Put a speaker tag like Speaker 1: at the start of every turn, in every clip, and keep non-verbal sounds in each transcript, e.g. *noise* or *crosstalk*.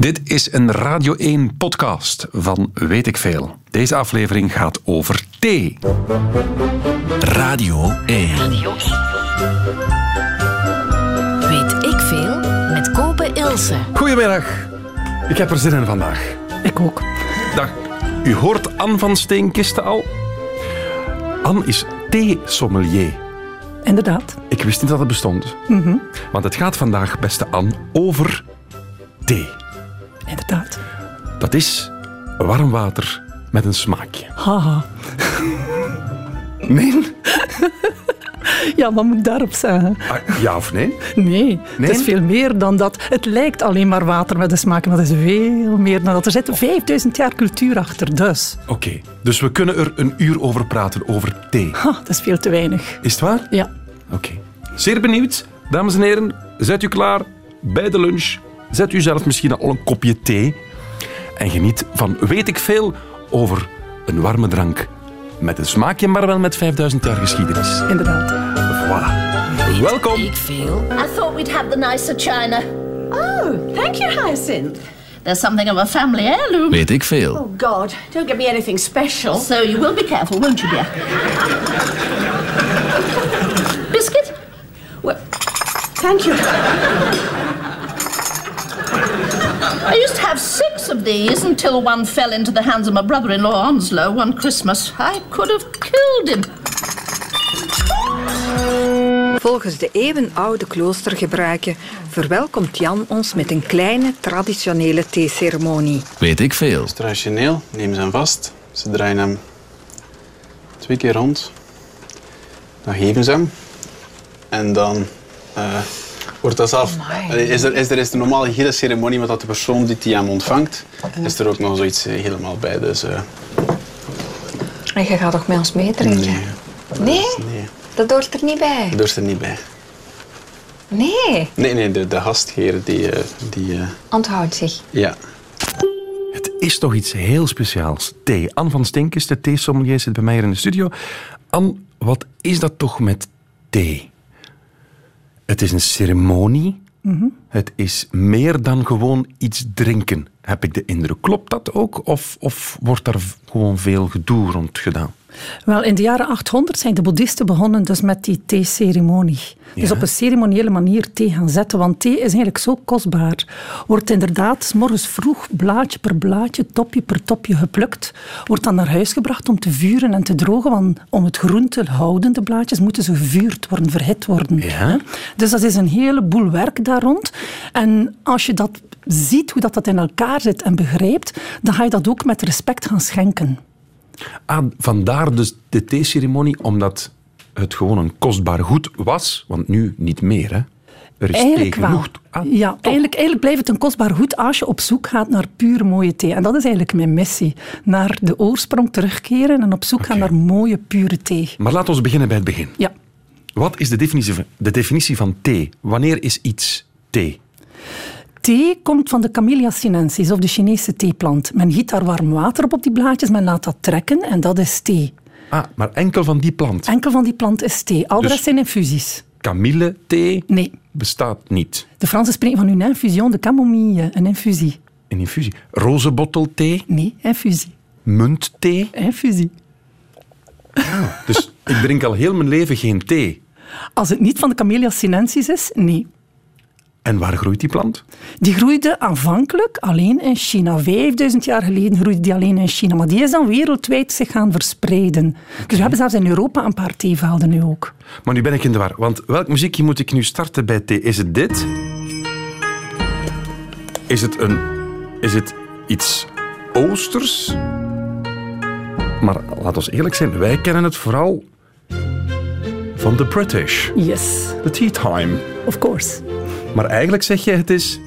Speaker 1: Dit is een Radio 1 podcast van Weet ik Veel. Deze aflevering gaat over thee.
Speaker 2: Radio 1.
Speaker 3: Weet ik veel met Kopen Ilse.
Speaker 1: Goedemiddag.
Speaker 4: Ik heb er zin in vandaag.
Speaker 3: Ik ook.
Speaker 1: Dag. U hoort Anne van Steenkisten al? Anne is thee-sommelier.
Speaker 5: Inderdaad.
Speaker 1: Ik wist niet dat het bestond. Want het gaat vandaag, beste Anne, over thee.
Speaker 5: Inderdaad.
Speaker 1: Dat is warm water met een smaakje.
Speaker 5: Haha.
Speaker 1: Nee?
Speaker 5: Ja, wat moet ik daarop zeggen?
Speaker 1: Ah, ja of nee?
Speaker 5: Nee,
Speaker 1: Nee?
Speaker 5: het is veel meer dan dat. Het lijkt alleen maar water met de smaak, maar dat is veel meer dan dat. Er zit 5000 jaar cultuur achter, dus.
Speaker 1: Oké, dus we kunnen er een uur over praten, over thee.
Speaker 5: Ha, dat is veel te weinig.
Speaker 1: Is het waar?
Speaker 5: Ja.
Speaker 1: Oké. Zeer benieuwd. Dames en heren, zet u klaar bij de lunch. Zet u zelf misschien al een kopje thee. En geniet van weet ik veel over een warme drank. Met een smaakje, maar wel met 5000 jaar geschiedenis.
Speaker 5: Inderdaad.
Speaker 1: Voilà. Welkom.
Speaker 3: Ik veel.
Speaker 6: I thought we'd have the nicer china.
Speaker 7: Oh, thank you, Hyacinth. Oh,
Speaker 6: There's something of a family heirloom.
Speaker 2: Weet ik veel.
Speaker 7: God, don't give me anything special.
Speaker 6: So you will be careful, won't you, dear? Biscuit?
Speaker 7: Well, thank you.
Speaker 6: I used to have six of these until one fell into the hands of my brother in law Onslow one Christmas. I could have killed him.
Speaker 8: Volgens de eeuwenoude kloostergebruiken verwelkomt Jan ons met een kleine traditionele theeceremonie.
Speaker 2: Weet ik veel.
Speaker 9: Traditioneel nemen ze hem vast. Ze draaien hem twee keer rond. Dan geven ze hem. En dan eh, wordt dat zelf... Allee, Is er, is, er, is de normale hele ceremonie met dat de persoon die die hem ontvangt, is er ook nog zoiets eh, helemaal bij. Dus eh,
Speaker 10: En je gaat toch met ons meedrinken?
Speaker 9: nee, Dus
Speaker 10: Nee?
Speaker 9: nee,
Speaker 10: Dat hoort er niet bij.
Speaker 9: dat is er niet bij.
Speaker 10: Nee,
Speaker 9: Nee, nee, de, de gastheer die... eh, die eh,
Speaker 10: onthoud zich.
Speaker 9: ja.
Speaker 1: Het is toch iets heel speciaals. Thee. Anne van Stink is de thee-sommelier, zit bij mij hier in de studio. Anne, wat is dat toch met thee? Het is een ceremonie.
Speaker 5: Mhm.
Speaker 1: Het is meer dan gewoon iets drinken, heb ik de indruk. Klopt dat ook? Of, of wordt daar v- gewoon veel gedoe rond gedaan?
Speaker 5: Wel, in de jaren 800 zijn de boeddhisten begonnen dus met die theeceremonie. Dus
Speaker 1: Ja.
Speaker 5: op een ceremoniële manier thee gaan zetten, want thee is eigenlijk zo kostbaar. Wordt inderdaad 's morgens vroeg blaadje per blaadje, topje per topje geplukt. Wordt dan naar huis gebracht om te vuren en te drogen, want om het groen te houden, de blaadjes, moeten ze gevuurd worden, verhit worden.
Speaker 1: Ja.
Speaker 5: Dus dat is een heleboel werk daar rond. En als je dat ziet, hoe dat, dat in elkaar zit en begrijpt, dan ga je dat ook met respect gaan schenken.
Speaker 1: Ah, vandaar dus de theeceremonie, omdat het gewoon een kostbaar goed was. Want nu niet meer, hè? Er is
Speaker 5: Eigenlijk
Speaker 1: thee
Speaker 5: wel.
Speaker 1: genoeg. Ah,
Speaker 5: ja, eigenlijk, eigenlijk blijft het een kostbaar goed als je op zoek gaat naar puur mooie thee. En dat is eigenlijk mijn missie. Naar de oorsprong terugkeren en op zoek gaan naar mooie, pure thee.
Speaker 1: Maar laten we beginnen bij het begin.
Speaker 5: Ja.
Speaker 1: Wat is de definitie, van- de definitie van thee? Wanneer is iets thee?
Speaker 5: Thee komt van de Camellia sinensis, of de Chinese theeplant. Men giet daar warm water op op die blaadjes, men laat dat trekken en dat is thee.
Speaker 1: Ah, maar enkel van die plant.
Speaker 5: Enkel van die plant is thee. Al de
Speaker 1: Dus-
Speaker 5: rest zijn infusies.
Speaker 1: Camille thee
Speaker 5: Nee.
Speaker 1: bestaat niet.
Speaker 5: De Fransen spreken van une infusion de camomille, een infusie.
Speaker 1: Een infusie. Rozenbottelthee,
Speaker 5: Nee, infusie.
Speaker 1: muntthee.
Speaker 5: Infusie.
Speaker 1: Dus ik drink al heel mijn leven geen thee.
Speaker 5: Als het niet van de Camellia sinensis is, nee.
Speaker 1: En waar groeit die plant?
Speaker 5: Die groeide aanvankelijk alleen in China. 5000 jaar geleden groeide die alleen in China. Maar die is dan wereldwijd zich gaan verspreiden. Dus we hebben zelfs in Europa een paar theevelden nu ook.
Speaker 1: Maar nu ben ik in de war. Want welk muziekje moet ik nu starten bij thee? Is het dit? Is het een... Is het iets oosters? Maar laat ons eerlijk zijn, wij kennen het vooral van de British.
Speaker 5: Yes,
Speaker 1: De tea time.
Speaker 5: of course.
Speaker 1: Maar eigenlijk zeg je, het is...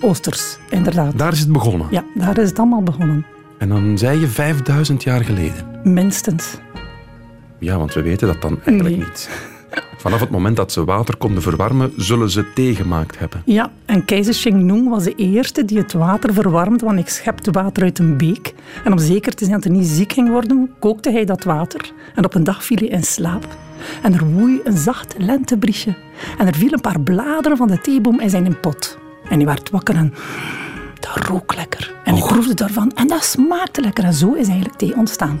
Speaker 5: Oosters, inderdaad.
Speaker 1: Daar is het begonnen.
Speaker 5: Ja, daar is het allemaal begonnen.
Speaker 1: En dan zei je 5000 jaar geleden.
Speaker 5: Minstens.
Speaker 1: Ja, want we weten dat dan eigenlijk
Speaker 5: Nee.
Speaker 1: niet. Vanaf het moment dat ze water konden verwarmen, zullen ze thee gemaakt hebben.
Speaker 5: Ja, en keizer Shengnung was de eerste die het water verwarmde, want ik schepte water uit een beek. En om zeker te zijn dat hij niet ziek ging worden, kookte hij dat water. En op een dag viel hij in slaap. En er woei een zacht lentebriesje. En er vielen een paar bladeren van de theeboom in zijn pot. En hij werd wakker en... dat rook lekker. En
Speaker 1: Oh.
Speaker 5: ik proefde daarvan en dat smaakte lekker. En zo is eigenlijk thee ontstaan.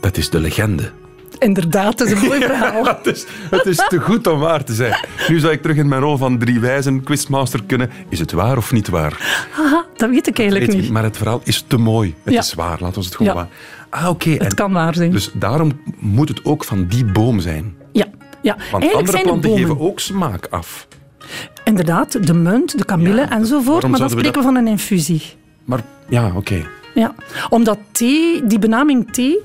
Speaker 1: Dat is de legende.
Speaker 5: Inderdaad, dat is *laughs* een mooi verhaal.
Speaker 1: *laughs* Het is, het is te goed om waar te zijn. Nu zou ik terug in mijn rol van drie wijzen quizmaster kunnen. Is het waar of niet waar?
Speaker 5: Haha, dat weet ik eigenlijk
Speaker 1: Weet je,
Speaker 5: niet.
Speaker 1: maar het verhaal is te mooi. Het
Speaker 5: Ja.
Speaker 1: is waar, laten we het gewoon
Speaker 5: Ja.
Speaker 1: waar. Ah, oké.
Speaker 5: Het
Speaker 1: en-
Speaker 5: kan waar zijn.
Speaker 1: Dus daarom moet het ook van die boom zijn.
Speaker 5: Ja, ja.
Speaker 1: Want
Speaker 5: eigenlijk
Speaker 1: andere
Speaker 5: zijn het
Speaker 1: planten
Speaker 5: bomen.
Speaker 1: geven ook smaak af.
Speaker 5: Inderdaad, de munt, de kamille enzovoort.
Speaker 1: waarom
Speaker 5: Maar dan
Speaker 1: zouden we
Speaker 5: spreken we van een infusie.
Speaker 1: Maar ja, oké.
Speaker 5: Ja, omdat thee, die benaming thee...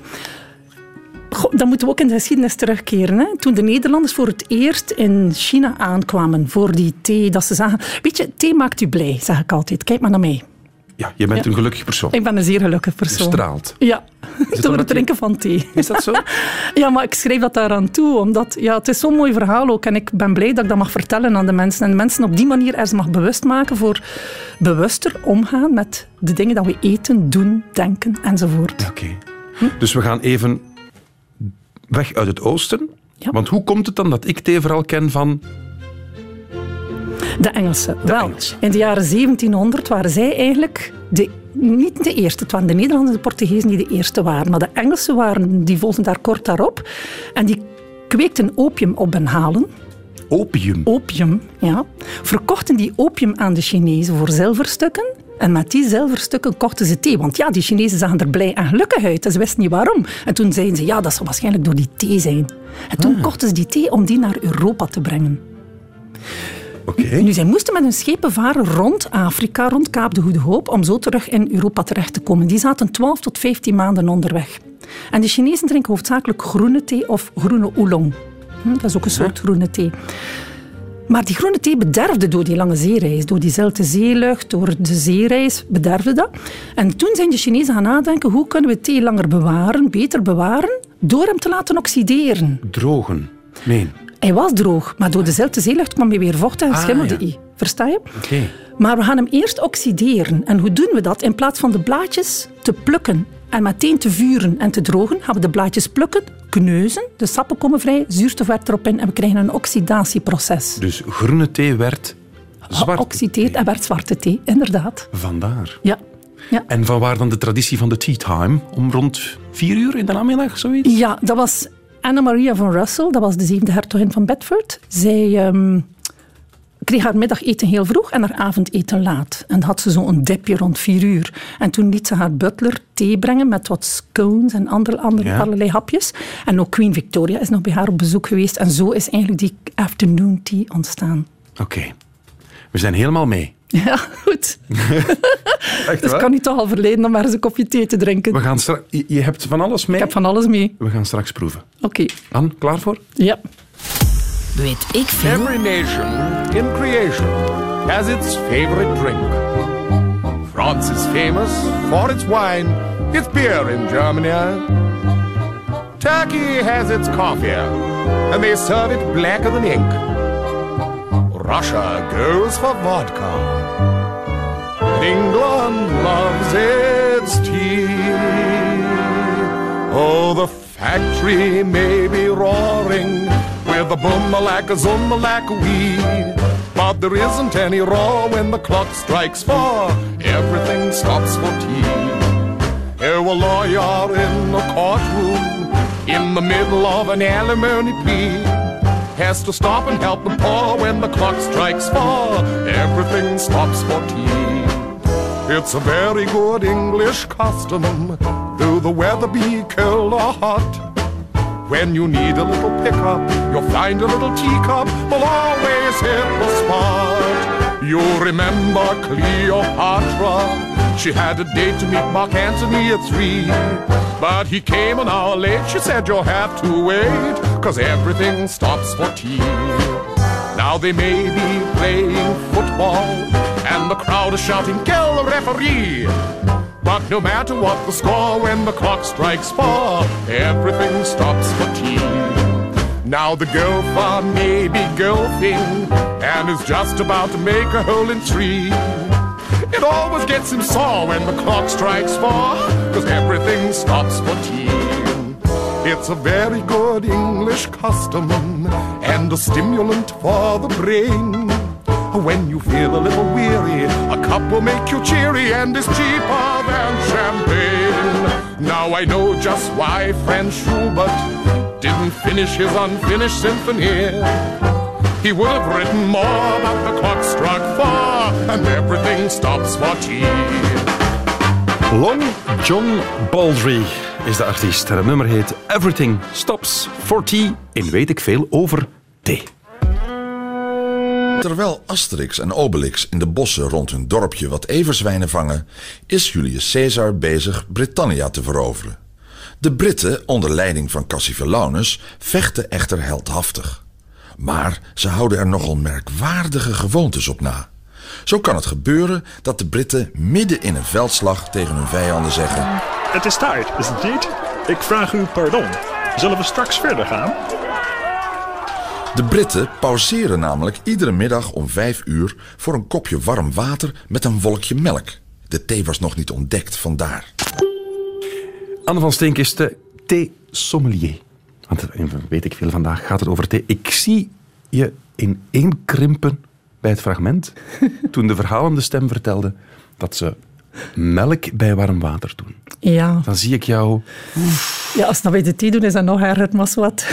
Speaker 5: Goh, dan moeten we ook in de geschiedenis terugkeren. Hè? Toen de Nederlanders voor het eerst in China aankwamen voor die thee, dat ze zagen... Weet je, thee maakt u blij, zeg ik altijd. Kijk maar naar mij.
Speaker 1: Ja, je bent een gelukkig persoon.
Speaker 5: Ik ben een zeer gelukkig
Speaker 1: Je
Speaker 5: persoon.
Speaker 1: straalt.
Speaker 5: Ja, *laughs* door
Speaker 1: omdat je-
Speaker 5: het drinken van thee.
Speaker 1: Is dat zo?
Speaker 5: *laughs* Ja, maar ik schrijf dat daaraan toe, omdat ja, het is zo'n mooi verhaal ook. En ik ben blij dat ik dat mag vertellen aan de mensen. En de mensen op die manier ergens mag bewust maken voor bewuster omgaan met de dingen dat we eten, doen, denken enzovoort.
Speaker 1: Oké.
Speaker 5: Hm?
Speaker 1: Dus we gaan even weg uit het oosten.
Speaker 5: Ja.
Speaker 1: Want hoe komt het dan dat ik thee vooral ken van...
Speaker 5: De Engelsen. Wel,
Speaker 1: Engelsen.
Speaker 5: in de jaren 1700 waren zij eigenlijk de, niet de eerste. Het waren de Nederlanders en de Portugezen die de eerste waren. Maar de Engelsen waren, die volgden daar kort daarop. En die kweekten opium op Benhalen.
Speaker 1: Opium.
Speaker 5: opium, ja, verkochten die opium aan de Chinezen voor zilverstukken. En met die zilverstukken kochten ze thee. Want ja, die Chinezen zagen er blij en gelukkig uit. En ze wisten niet waarom. En toen zeiden ze, ja, dat zal waarschijnlijk door die thee zijn. En toen kochten ze die thee om die naar Europa te brengen.
Speaker 1: Oké.
Speaker 5: Nu, zij moesten met hun schepen varen rond Afrika, rond Kaap de Goede Hoop, om zo terug in Europa terecht te komen. Die zaten 12 tot 15 maanden onderweg. En de Chinezen drinken hoofdzakelijk groene thee of groene oolong. Hm, dat is ook een soort groene thee. Maar die groene thee bederfde door die lange zeereis, door die zelte zeelucht, door de zeereis, bederfde dat. En toen zijn de Chinezen gaan nadenken, hoe kunnen we thee langer bewaren, beter bewaren, door hem te laten oxideren.
Speaker 1: Drogen. Nee.
Speaker 5: Hij was droog, maar door de zelte zeelucht kwam hij weer vochtig en
Speaker 1: Ah,
Speaker 5: schimmelde
Speaker 1: ja.
Speaker 5: hij. Versta je?
Speaker 1: Oké.
Speaker 5: Maar we gaan hem eerst oxideren. En hoe doen we dat? In plaats van de blaadjes te plukken en meteen te vuren en te drogen, gaan we de blaadjes plukken, kneuzen, de sappen komen vrij, zuurstof werd erop in en we krijgen een oxidatieproces.
Speaker 1: Dus groene thee werd zwart.
Speaker 5: Geoxideerd en werd zwarte thee, inderdaad.
Speaker 1: Vandaar.
Speaker 5: Ja. Ja.
Speaker 1: En van waar dan de traditie van de tea time? Om rond vier uur in de namiddag, zoiets?
Speaker 5: ja, dat was Anna Maria van Russell, dat was de zevende hertogin van Bedford. Zij ehm, kreeg haar middageten heel vroeg en haar avondeten laat. En had ze zo'n dipje rond vier uur. En toen liet ze haar butler thee brengen met wat scones en andere, andere,
Speaker 1: Ja.
Speaker 5: allerlei hapjes. En ook Queen Victoria is nog bij haar op bezoek geweest. En zo is eigenlijk die afternoon tea ontstaan.
Speaker 1: Oké. We zijn helemaal mee.
Speaker 5: *laughs* Ja, goed.
Speaker 1: Echt
Speaker 5: Dus ik kan niet toch al verleiden om maar eens een kopje thee te drinken.
Speaker 1: We gaan straks... Je je hebt van alles mee.
Speaker 5: Ik heb van alles mee.
Speaker 1: We gaan straks proeven.
Speaker 5: Oké,
Speaker 1: Anne, klaar voor?
Speaker 5: ja.
Speaker 3: Weet ik veel?
Speaker 4: Every nation in creation has its favorite drink. France is famous for its wine, its beer in Germany. Turkey has its coffee, and they serve it blacker than ink. Russia goes for vodka. and England loves its tea. Oh, the factory may be roaring with a boom a lack a zoom a lack a wee. But there isn't any roar when the clock strikes four. Everything stops for tea. Here a lawyer in a courtroom in the middle of an alimony plea has to stop and help the poor when the clock strikes four. Everything stops for tea. It's a very good English custom, though the weather be cold or hot. When you need a little pickup, you'll find a little teacup will always hit the spot. You remember Cleopatra? She had a date to meet Mark Antony at three. But he came an hour late, she said you'll have to wait, cause everything stops for tea. Now they may be playing football, and the crowd is shouting, kill the referee! But no matter what the score, when the clock strikes four, everything stops for tea. Now the gopher may be golfing, and is just about to make a hole in three. It always gets him sore when the clock strikes four, cause everything stops for tea. It's a very good English custom and a stimulant for the brain. When you feel a little weary, a cup will make you cheery and is cheaper than champagne. Now I know just why Franz Schubert didn't finish his unfinished symphony. He would have written more, but the clock struck four, and everything stops for tea.
Speaker 1: Long John Baldry is de artiest. En het nummer heet Everything Stops for Tea in weet ik veel over thee.
Speaker 2: Terwijl Asterix en Obelix in de bossen rond hun dorpje wat everzwijnen vangen, is Julius Caesar bezig Britannia te veroveren. De Britten, onder leiding van Cassivellaunus, vechten echter heldhaftig. Maar ze houden er nogal merkwaardige gewoontes op na. Zo kan het gebeuren dat de Britten midden in een veldslag tegen hun vijanden zeggen:
Speaker 11: Het is tijd, is het niet? Ik vraag u pardon. Zullen we straks verder gaan?
Speaker 2: De Britten pauzeren namelijk iedere middag om vijf uur voor een kopje warm water met een wolkje melk. De thee was nog niet ontdekt, vandaar.
Speaker 1: Anne van Steenk is de thee-sommelier. Want eh, weet ik veel, vandaag gaat het over thee. Ik zie je ineenkrimpen bij het
Speaker 5: *laughs*
Speaker 1: fragment toen de verhalende stem vertelde dat ze melk bij warm water doen.
Speaker 5: Ja.
Speaker 1: Dan zie ik jou
Speaker 5: ja, als dat bij de thee doen, is dat nog erger, maar wat. *laughs*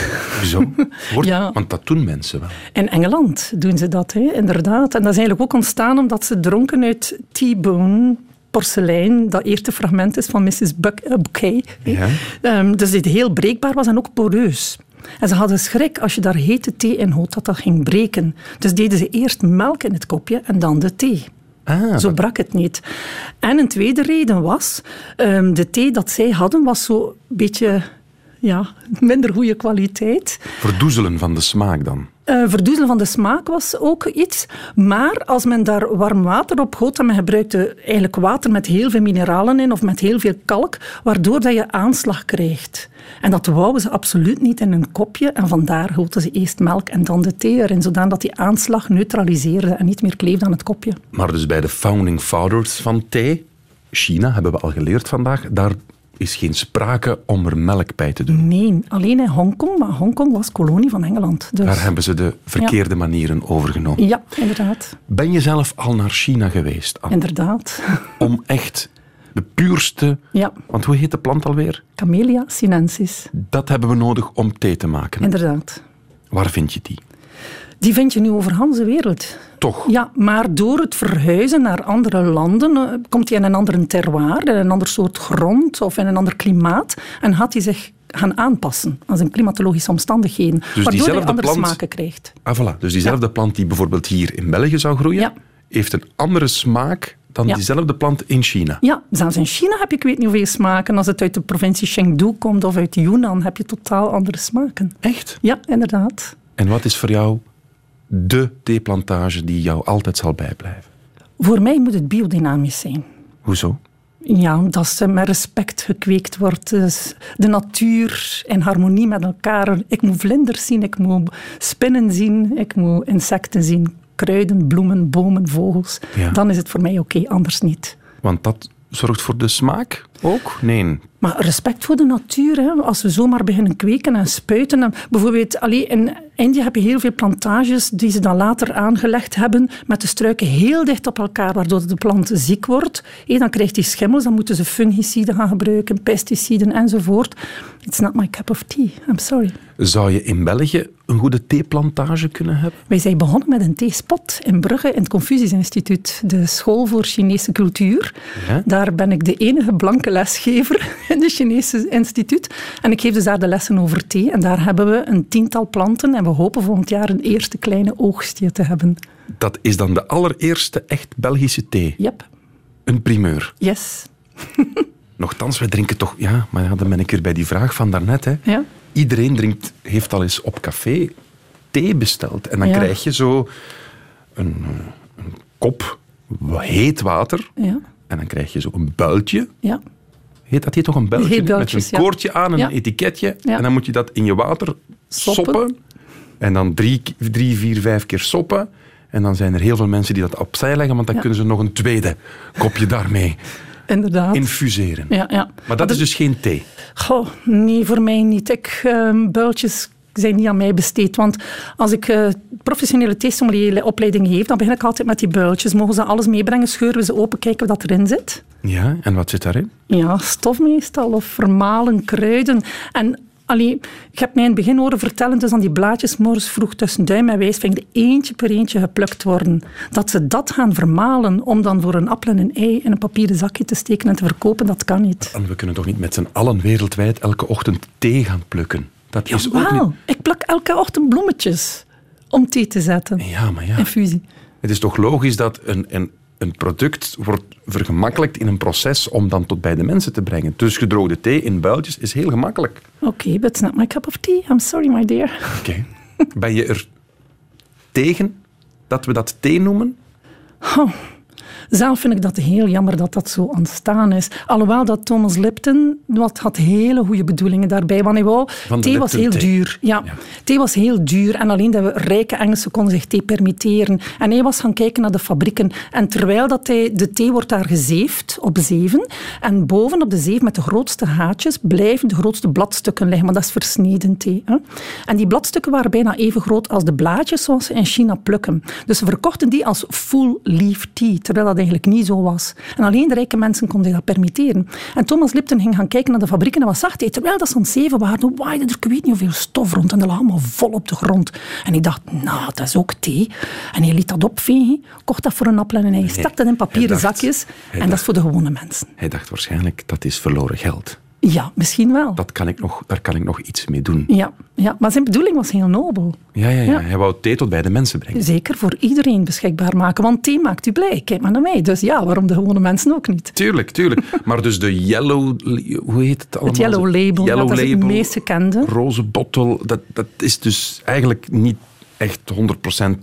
Speaker 1: zo. Wordt,
Speaker 5: Ja.
Speaker 1: Want dat doen mensen wel.
Speaker 5: In Engeland doen ze dat, hè? inderdaad. En dat is eigenlijk ook ontstaan omdat ze dronken uit T-bone porselein, dat eerste fragment is van Mrs. Buck, eh, Bouquet. hè.
Speaker 1: Ja.
Speaker 5: Ehm, dus dit heel breekbaar was en ook poreus. En ze hadden schrik als je daar hete thee in goot, dat dat ging breken. Dus deden ze eerst melk in het kopje en dan de thee. Zo brak het niet. En een tweede reden was, ehm, de thee dat zij hadden was zo'n beetje ja, minder goede kwaliteit.
Speaker 1: Verdoezelen van de smaak dan.
Speaker 5: Eh, verdoezelen van de smaak was ook iets. Maar als men daar warm water op goot, en men gebruikte eigenlijk water met heel veel mineralen in of met heel veel kalk, waardoor dat je aanslag krijgt. En dat wouden ze absoluut niet in een kopje. En vandaar goten ze eerst melk en dan de thee erin, zodat die aanslag neutraliseerde en niet meer kleefde aan het kopje.
Speaker 1: Maar dus bij de founding fathers van thee, China, hebben we al geleerd vandaag, daar is geen sprake om er melk bij te doen.
Speaker 5: Nee, alleen in Hongkong, maar Hongkong was kolonie van Engeland. Dus
Speaker 1: Daar hebben ze de verkeerde manieren overgenomen.
Speaker 5: ja, inderdaad.
Speaker 1: Ben je zelf al naar China geweest, Anne?
Speaker 5: Inderdaad.
Speaker 1: Om echt de puurste...
Speaker 5: Ja,
Speaker 1: Want hoe heet de plant alweer?
Speaker 5: Camellia sinensis.
Speaker 1: Dat hebben we nodig om thee te maken.
Speaker 5: Inderdaad.
Speaker 1: Waar vind je die?
Speaker 5: Die vind je nu over heel de wereld.
Speaker 1: Toch?
Speaker 5: Ja, maar door het verhuizen naar andere landen eh, komt hij in een ander terroir, in een ander soort grond of in een ander klimaat en gaat hij zich gaan aanpassen aan zijn klimatologische omstandigheden, waardoor hij
Speaker 1: Dus diezelfde
Speaker 5: andere
Speaker 1: plant-
Speaker 5: smaken krijgt.
Speaker 1: Ah, voilà. Dus diezelfde plant die bijvoorbeeld hier in België zou groeien,
Speaker 5: Ja.
Speaker 1: heeft een andere smaak dan
Speaker 5: Ja.
Speaker 1: diezelfde plant in China.
Speaker 5: Ja, zelfs in China heb je ik weet niet hoeveel smaken. Als het uit de provincie Chengdu komt of uit Yunnan, heb je totaal andere smaken.
Speaker 1: Echt?
Speaker 5: Ja, inderdaad.
Speaker 1: En wat is voor jou de theeplantage die jou altijd zal bijblijven?
Speaker 5: Voor mij moet het biodynamisch zijn.
Speaker 1: Hoezo?
Speaker 5: Ja, omdat ze met respect gekweekt wordt. Dus de natuur in harmonie met elkaar. Ik moet vlinders zien, ik moet spinnen zien, ik moet insecten zien. Kruiden, bloemen, bomen, vogels.
Speaker 1: Ja.
Speaker 5: Dan is het voor mij oké, anders niet.
Speaker 1: Want dat zorgt voor de smaak ook? Nee.
Speaker 5: Maar respect voor de natuur, hè. als we zomaar beginnen kweken en spuiten. En bijvoorbeeld, allee, in India heb je heel veel plantages die ze dan later aangelegd hebben met de struiken heel dicht op elkaar, waardoor de plant ziek wordt. Hé, dan krijgt hij schimmels, dan moeten ze fungiciden gaan gebruiken, pesticiden enzovoort. It's not my cup of tea, I'm sorry.
Speaker 1: Zou je in België een goede theeplantage kunnen hebben?
Speaker 5: Wij zijn begonnen met een theespot in Brugge in het Confucius Instituut, de school voor Chinese cultuur.
Speaker 1: Ja.
Speaker 5: Daar ben ik de enige blanke lesgever *laughs* in het Chinese instituut. En ik geef dus daar de lessen over thee. En daar hebben we een tiental planten en we hopen volgend jaar een eerste kleine oogstje te hebben.
Speaker 1: Dat is dan de allereerste echt Belgische thee.
Speaker 5: Yep,
Speaker 1: Een primeur.
Speaker 5: yes.
Speaker 1: Nochtans, wij drinken toch... Ja, maar ja, dan ben ik weer bij die vraag van daarnet. Hè.
Speaker 5: Ja.
Speaker 1: Iedereen drinkt, heeft al eens op café thee besteld. En dan
Speaker 5: Ja.
Speaker 1: krijg je zo een, eh, een kop heet water.
Speaker 5: Ja,
Speaker 1: En dan krijg je zo een builtje.
Speaker 5: ja.
Speaker 1: Heet dat hier toch een builtje?
Speaker 5: Heet
Speaker 1: Met
Speaker 5: builtjes,
Speaker 1: een
Speaker 5: ja.
Speaker 1: koordje aan, een
Speaker 5: Ja.
Speaker 1: etiketje.
Speaker 5: Ja.
Speaker 1: En dan moet je dat in je water soppen.
Speaker 5: Soppen.
Speaker 1: En dan drie, drie, vier, vijf keer soppen. En dan zijn er heel veel mensen die dat opzij leggen, want dan
Speaker 5: Ja.
Speaker 1: kunnen ze nog een tweede kopje
Speaker 5: *laughs*
Speaker 1: daarmee
Speaker 5: inderdaad.
Speaker 1: infuseren.
Speaker 5: ja, ja.
Speaker 1: Maar dat is dus geen thee.
Speaker 5: Goh, nee, voor mij niet. Ik, ehm, builtjes zijn niet aan mij besteed. Want als ik eh, professionele theesommelieropleiding heeft, dan begin ik altijd met die builtjes. Mogen ze alles meebrengen, scheuren we ze open, kijken wat erin zit.
Speaker 1: Ja, en wat zit daarin?
Speaker 5: Ja, stof meestal, of vermalen, kruiden. En allee, ik heb mij in het begin horen vertellen, dus aan die blaadjes morgens vroeg tussen duim en wijsvinger eentje per eentje geplukt worden. Dat ze dat gaan vermalen om dan voor een appel en een ei in een papieren zakje te steken en te verkopen, dat kan niet.
Speaker 1: En we kunnen toch niet met z'n allen wereldwijd elke ochtend thee gaan plukken? Dat is Dus ook
Speaker 5: Wauw,
Speaker 1: niet...
Speaker 5: ik plak elke ochtend bloemetjes om thee te zetten.
Speaker 1: Ja, maar ja.
Speaker 5: Infusie.
Speaker 1: Het is toch logisch dat een, een, een product wordt vergemakkelijkt in een proces om dan tot bij de mensen te brengen. Dus gedroogde thee in builtjes is heel gemakkelijk.
Speaker 5: Oké, but it's not my cup of tea. I'm sorry, my dear.
Speaker 1: Oké. Ben je er tegen dat we dat thee noemen?
Speaker 5: Oh, Zelf vind ik dat heel jammer dat dat zo ontstaan is. Alhoewel dat Thomas Lipton wat had hele goede bedoelingen daarbij. Want hij wou,
Speaker 1: Van de
Speaker 5: thee was heel
Speaker 1: Lipton thee.
Speaker 5: duur. Ja, thee was heel duur. En alleen de rijke Engelsen konden zich thee permitteren. En hij was gaan kijken naar de fabrieken. En terwijl dat hij, de thee wordt daar gezeefd op zeven. En boven op de zeef met de grootste haartjes blijven de grootste bladstukken liggen. Want dat is versneden thee. Hè? En die bladstukken waren bijna even groot als de blaadjes zoals ze in China plukken. Dus ze verkochten die als full leaf tea, terwijl dat eigenlijk niet zo was. En alleen de rijke mensen konden dat permitteren. En Thomas Lipton ging gaan kijken naar de fabrieken en wat zag hij? Terwijl dat zo'n zeven waren, waaide er ik weet niet hoeveel stof rond en dat lag allemaal vol op de grond. En ik dacht, nou, dat is ook thee. En hij liet dat opvegen, kocht dat voor een appel en een ei, stak dat in papieren
Speaker 1: hij dacht-
Speaker 5: zakjes.
Speaker 1: hij
Speaker 5: en dat
Speaker 1: dacht-
Speaker 5: is voor de gewone mensen.
Speaker 1: Hij dacht waarschijnlijk, dat is verloren geld.
Speaker 5: Ja, misschien wel.
Speaker 1: Dat kan ik nog, daar kan ik nog iets mee doen.
Speaker 5: Ja, ja, maar zijn bedoeling was heel nobel.
Speaker 1: Ja, ja, ja.
Speaker 5: Ja.
Speaker 1: Hij wou thee tot bij de mensen brengen.
Speaker 5: Zeker voor iedereen beschikbaar maken, want thee maakt u blij. Kijk maar naar mij. Dus ja, waarom de gewone mensen ook niet?
Speaker 1: Tuurlijk, tuurlijk. Maar dus de yellow... Hoe heet het allemaal?
Speaker 5: Het Yellow Label,
Speaker 1: Yellow
Speaker 5: dat is het
Speaker 1: Label,
Speaker 5: meest gekende.
Speaker 1: roze bottel, dat, dat is dus eigenlijk niet echt 100%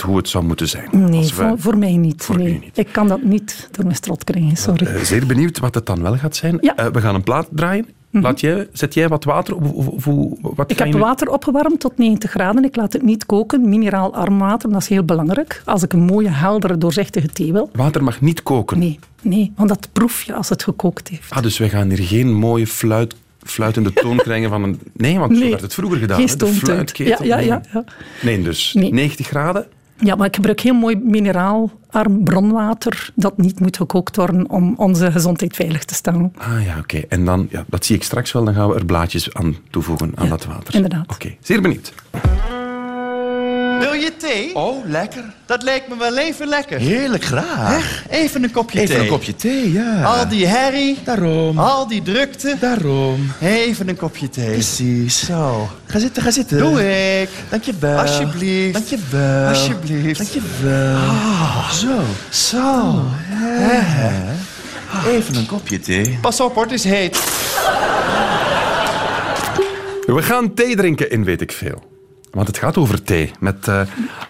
Speaker 1: hoe het zou moeten zijn.
Speaker 5: Nee,
Speaker 1: Als we-
Speaker 5: voor, voor mij niet. nee. Ik kan dat niet door mijn strot krijgen, sorry.
Speaker 1: Eh, zeer benieuwd wat het dan wel gaat zijn.
Speaker 5: Ja. Mhm.
Speaker 1: Eh, we gaan een plaat draaien. Laat jij, zet jij wat water op? Of, of- hoe- wat
Speaker 5: Ik
Speaker 1: ga je
Speaker 5: heb
Speaker 1: nu-
Speaker 5: water opgewarmd tot 90 graden. Ik laat het niet koken. Mineraalarm water, dat is heel belangrijk. Als ik een mooie, heldere, doorzichtige thee wil.
Speaker 1: Water mag niet koken.
Speaker 5: Nee, nee, want dat proef je als het gekookt heeft.
Speaker 1: Ah, dus we gaan hier geen mooie fluit, fluitende toon krijgen van
Speaker 5: *laughs*
Speaker 1: een... Nee, want zo
Speaker 5: Nee.
Speaker 1: werd het vroeger gedaan.
Speaker 5: Geen
Speaker 1: hè, de
Speaker 5: stoomteut.
Speaker 1: fluitketel.
Speaker 5: Ja, ja,
Speaker 1: Nee.
Speaker 5: ja, ja.
Speaker 1: Nee, dus
Speaker 5: Nee.
Speaker 1: 90 graden.
Speaker 5: Ja, maar ik gebruik heel mooi mineraalarm bronwater dat niet moet gekookt worden om onze gezondheid veilig te stellen.
Speaker 1: Ah ja, oké. En dan, ja, dat zie ik straks wel, dan gaan we er blaadjes aan toevoegen aan dat water.
Speaker 5: inderdaad.
Speaker 1: Oké, zeer benieuwd.
Speaker 12: Wil je thee?
Speaker 2: Oh, lekker.
Speaker 12: Dat lijkt me wel even lekker.
Speaker 2: Heerlijk graag.
Speaker 12: Hè? Even een kopje
Speaker 2: Even
Speaker 12: thee.
Speaker 2: een kopje thee, ja.
Speaker 12: Al die herrie.
Speaker 2: Daarom.
Speaker 12: Al die drukte.
Speaker 2: Daarom.
Speaker 12: Even een kopje thee.
Speaker 2: Precies.
Speaker 12: Zo.
Speaker 2: Ga zitten, ga zitten.
Speaker 12: Doe ik.
Speaker 2: Dankjewel.
Speaker 12: Alsjeblieft.
Speaker 2: Dankjewel.
Speaker 12: Alsjeblieft. Ah.
Speaker 2: Dankjewel. Zo.
Speaker 12: Zo.
Speaker 2: Even een kopje thee.
Speaker 12: Pas op hoor, het is heet.
Speaker 1: We gaan thee drinken in Weet ik Veel. Want het gaat over thee. Met eh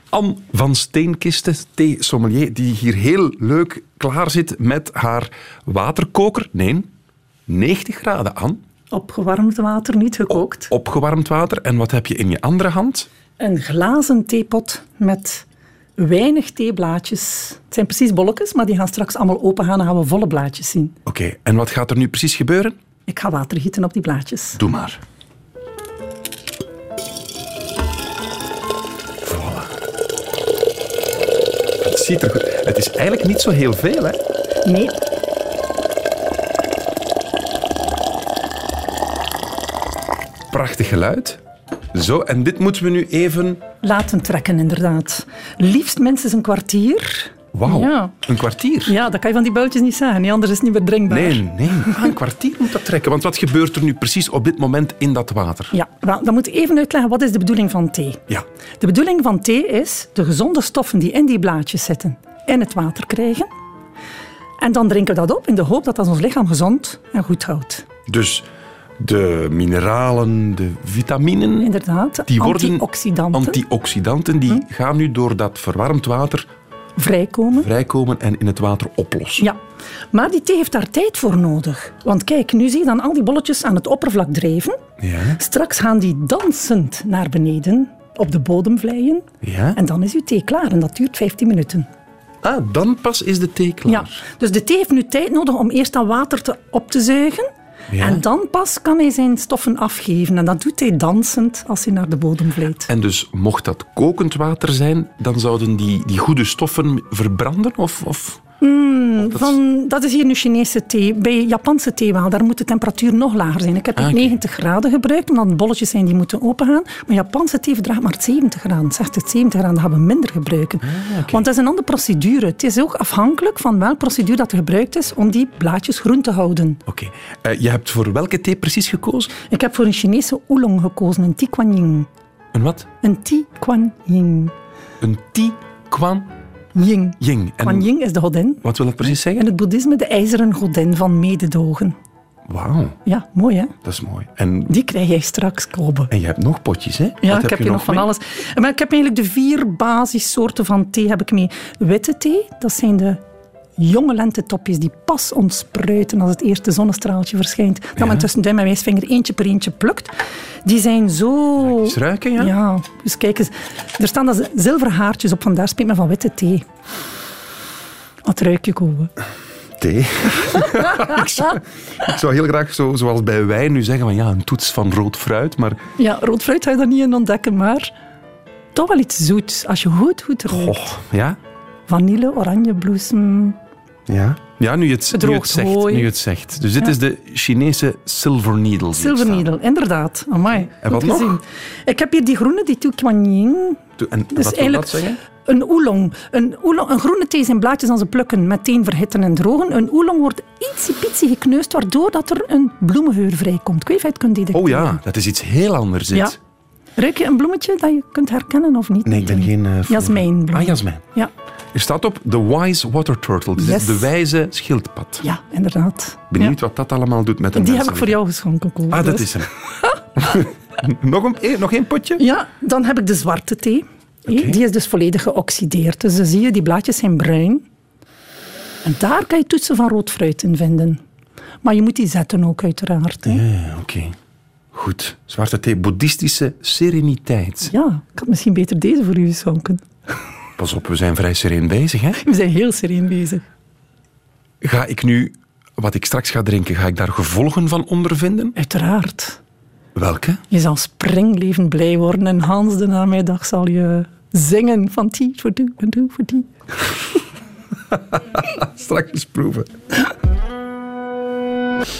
Speaker 1: Anne van Steenkisten, thee-sommelier, die hier heel leuk klaar zit met haar waterkoker. Nee, 90 graden aan,
Speaker 5: Opgewarmd water, niet gekookt.
Speaker 1: opgewarmd water. En wat heb je in je andere hand?
Speaker 5: Een glazen theepot met weinig theeblaadjes. Het zijn precies bolletjes, maar die gaan straks allemaal open gaan en gaan we volle blaadjes zien.
Speaker 1: Oké, en wat gaat er nu precies gebeuren?
Speaker 5: Ik ga water gieten op die blaadjes.
Speaker 1: Doe maar. Voilà. Het ziet er goed. Het is eigenlijk niet zo heel veel, hè?
Speaker 5: Nee,
Speaker 1: Prachtig geluid. Zo, en dit moeten we nu even...
Speaker 5: laten trekken inderdaad. Liefst minstens een kwartier.
Speaker 1: Wauw,
Speaker 5: Ja.
Speaker 1: een kwartier.
Speaker 5: Ja, dat kan je van die builtjes niet zeggen, niet, anders is het niet meer drinkbaar.
Speaker 1: Nee, nee, ah, een kwartier moet dat trekken. Want wat gebeurt er nu precies op dit moment in dat water?
Speaker 5: Ja, wel, dan moet ik even uitleggen wat is de bedoeling van thee.
Speaker 1: Ja.
Speaker 5: De bedoeling van thee is de gezonde stoffen die in die blaadjes zitten in het water krijgen. En dan drinken we dat op in de hoop dat dat ons lichaam gezond en goed houdt.
Speaker 1: Dus de mineralen, de vitaminen...
Speaker 5: Inderdaad,
Speaker 1: Die worden
Speaker 5: antioxidanten Hm?
Speaker 1: antioxidanten die gaan nu door dat verwarmd water
Speaker 5: vrijkomen.
Speaker 1: vrijkomen en in het water oplossen.
Speaker 5: Ja, maar die thee heeft daar tijd voor nodig. Want kijk, nu zie je dan al die bolletjes aan het oppervlak drijven.
Speaker 1: Ja.
Speaker 5: Straks gaan die dansend naar beneden op de bodem vlijen.
Speaker 1: Ja.
Speaker 5: En dan is uw thee klaar en dat duurt 15 minuten.
Speaker 1: Ah, dan pas is de thee klaar.
Speaker 5: Ja, dus de thee heeft nu tijd nodig om eerst dat water te, op te zuigen.
Speaker 1: Ja.
Speaker 5: En dan pas kan hij zijn stoffen afgeven. En dat doet hij dansend als hij naar de bodem vliet.
Speaker 1: En dus mocht dat kokend water zijn, dan zouden die, die goede stoffen verbranden? Of, of...
Speaker 5: Mm,
Speaker 1: dat-
Speaker 5: van, dat is hier nu Chinese thee. Bij Japanse thee wel, daar moet de temperatuur nog lager zijn. Ik heb
Speaker 1: Ah,
Speaker 5: het
Speaker 1: oké.
Speaker 5: 90 graden gebruikt, omdat het bolletjes zijn die moeten opengaan. Maar Japanse thee verdraagt maar 70 graden. Zegt het 70 graden, dat gaan we minder gebruiken.
Speaker 1: Ah,
Speaker 5: Want dat is een andere procedure. Het is ook afhankelijk van welke procedure dat er gebruikt is om die blaadjes groen te houden.
Speaker 1: Oké. Eh, je hebt voor welke thee precies gekozen?
Speaker 5: Ik heb voor een Chinese oolong gekozen, een tea kuan yin.
Speaker 1: Een wat?
Speaker 5: Een tea kuan yin.
Speaker 1: Een ti kwan
Speaker 5: Yin.
Speaker 1: ying. En
Speaker 5: Kuan yin is de godin.
Speaker 1: wat wil dat precies zeggen?
Speaker 5: In het boeddhisme de ijzeren godin van mededogen.
Speaker 1: Wauw,
Speaker 5: Ja, mooi hè?
Speaker 1: dat is mooi. En,
Speaker 5: Die krijg jij straks, Kobe.
Speaker 1: en je hebt nog potjes, hè? Wat
Speaker 5: Ja, ik heb
Speaker 1: je
Speaker 5: hier nog van
Speaker 1: mee?
Speaker 5: alles. Eh, Maar ik heb eigenlijk de vier basissoorten van thee heb ik mee. Witte thee, dat zijn de jonge lentetopjes die pas ontspruiten als het eerste zonnestraaltje verschijnt. Dat men tussen duim en wijsvinger eentje per eentje plukt. Die zijn zo...
Speaker 1: Eens ruiken, ja?
Speaker 5: Ja, dus kijk eens. Er staan dat zilveren haartjes op, vandaar spreekt men van witte thee. Wat ruik je,
Speaker 1: *laughs*
Speaker 5: Kobe?
Speaker 1: Thee. ik, zou, ik zou heel graag, zo, zoals bij wijn, nu zeggen van ja, een toets van rood fruit, maar
Speaker 5: Ja, rood fruit ga je daar niet in ontdekken, maar... Toch wel iets zoets, als je goed, goed ruikt.
Speaker 1: goh, ja?
Speaker 5: Vanille, oranjebloesem...
Speaker 1: Ja. Ja, nu je het, nu je het
Speaker 5: Gedroogd
Speaker 1: zegt.
Speaker 5: hooi.
Speaker 1: Nu je het zegt. Dus dit
Speaker 5: Ja.
Speaker 1: is de Chinese Silver Needle. die hier
Speaker 5: Silver
Speaker 1: staat.
Speaker 5: needle, inderdaad. Amai,
Speaker 1: En
Speaker 5: goed
Speaker 1: wat nog?
Speaker 5: gezien. Ik heb hier die groene, die Tukwanying.
Speaker 1: Doe- En
Speaker 5: Dus
Speaker 1: wat wil
Speaker 5: eigenlijk
Speaker 1: dat zeggen?
Speaker 5: Een oolong. een oolong. Een groene thee zijn blaadjes aan ze plukken, meteen verhitten en drogen. Een oolong wordt ietsiepietsie gekneusd, waardoor dat er een bloemengeur vrijkomt. Ik weet niet of je het kunt detecteren.
Speaker 1: Oh ja, dat is iets heel anders. dit.
Speaker 5: Ja. Ruik je een bloemetje dat je kunt herkennen of niet?
Speaker 1: Nee, ik ben geen... eh,
Speaker 5: Jasmijnbloem.
Speaker 1: Ah, jasmijn.
Speaker 5: Ja,
Speaker 1: Er staat op The Wise Water Turtle. Dus
Speaker 5: Yes.
Speaker 1: de wijze schildpad.
Speaker 5: ja inderdaad.
Speaker 1: Benieuwd wat dat allemaal doet met een
Speaker 5: Die heb ik
Speaker 1: menselijk-
Speaker 5: voor jou geschonken, Koen.
Speaker 1: Ah, dat is
Speaker 5: Dus-
Speaker 1: hem.
Speaker 5: *laughs*
Speaker 1: *laughs* nog, een, eh, nog één potje?
Speaker 5: Ja, dan heb ik de zwarte thee. Hé,
Speaker 1: Oké.
Speaker 5: Die is dus volledig geoxideerd. Dus dan zie je, die blaadjes zijn bruin. En daar kan je toetsen van rood fruit in vinden. Maar je moet die zetten ook, uiteraard. hè. Ja,
Speaker 1: Ja, Oké. Goed. Zwarte thee, boeddhistische sereniteit.
Speaker 5: ik had misschien beter deze voor u geschonken.
Speaker 1: Pas op, we zijn vrij sereen bezig, hè?
Speaker 5: We zijn heel sereen bezig.
Speaker 1: Ga ik nu, wat ik straks ga drinken, ga ik daar gevolgen van ondervinden?
Speaker 5: Uiteraard.
Speaker 1: Welke?
Speaker 5: Je zal springlevend blij worden en Hans de namiddag zal je zingen van tea for do, for do, for tea.
Speaker 1: Straks eens proeven.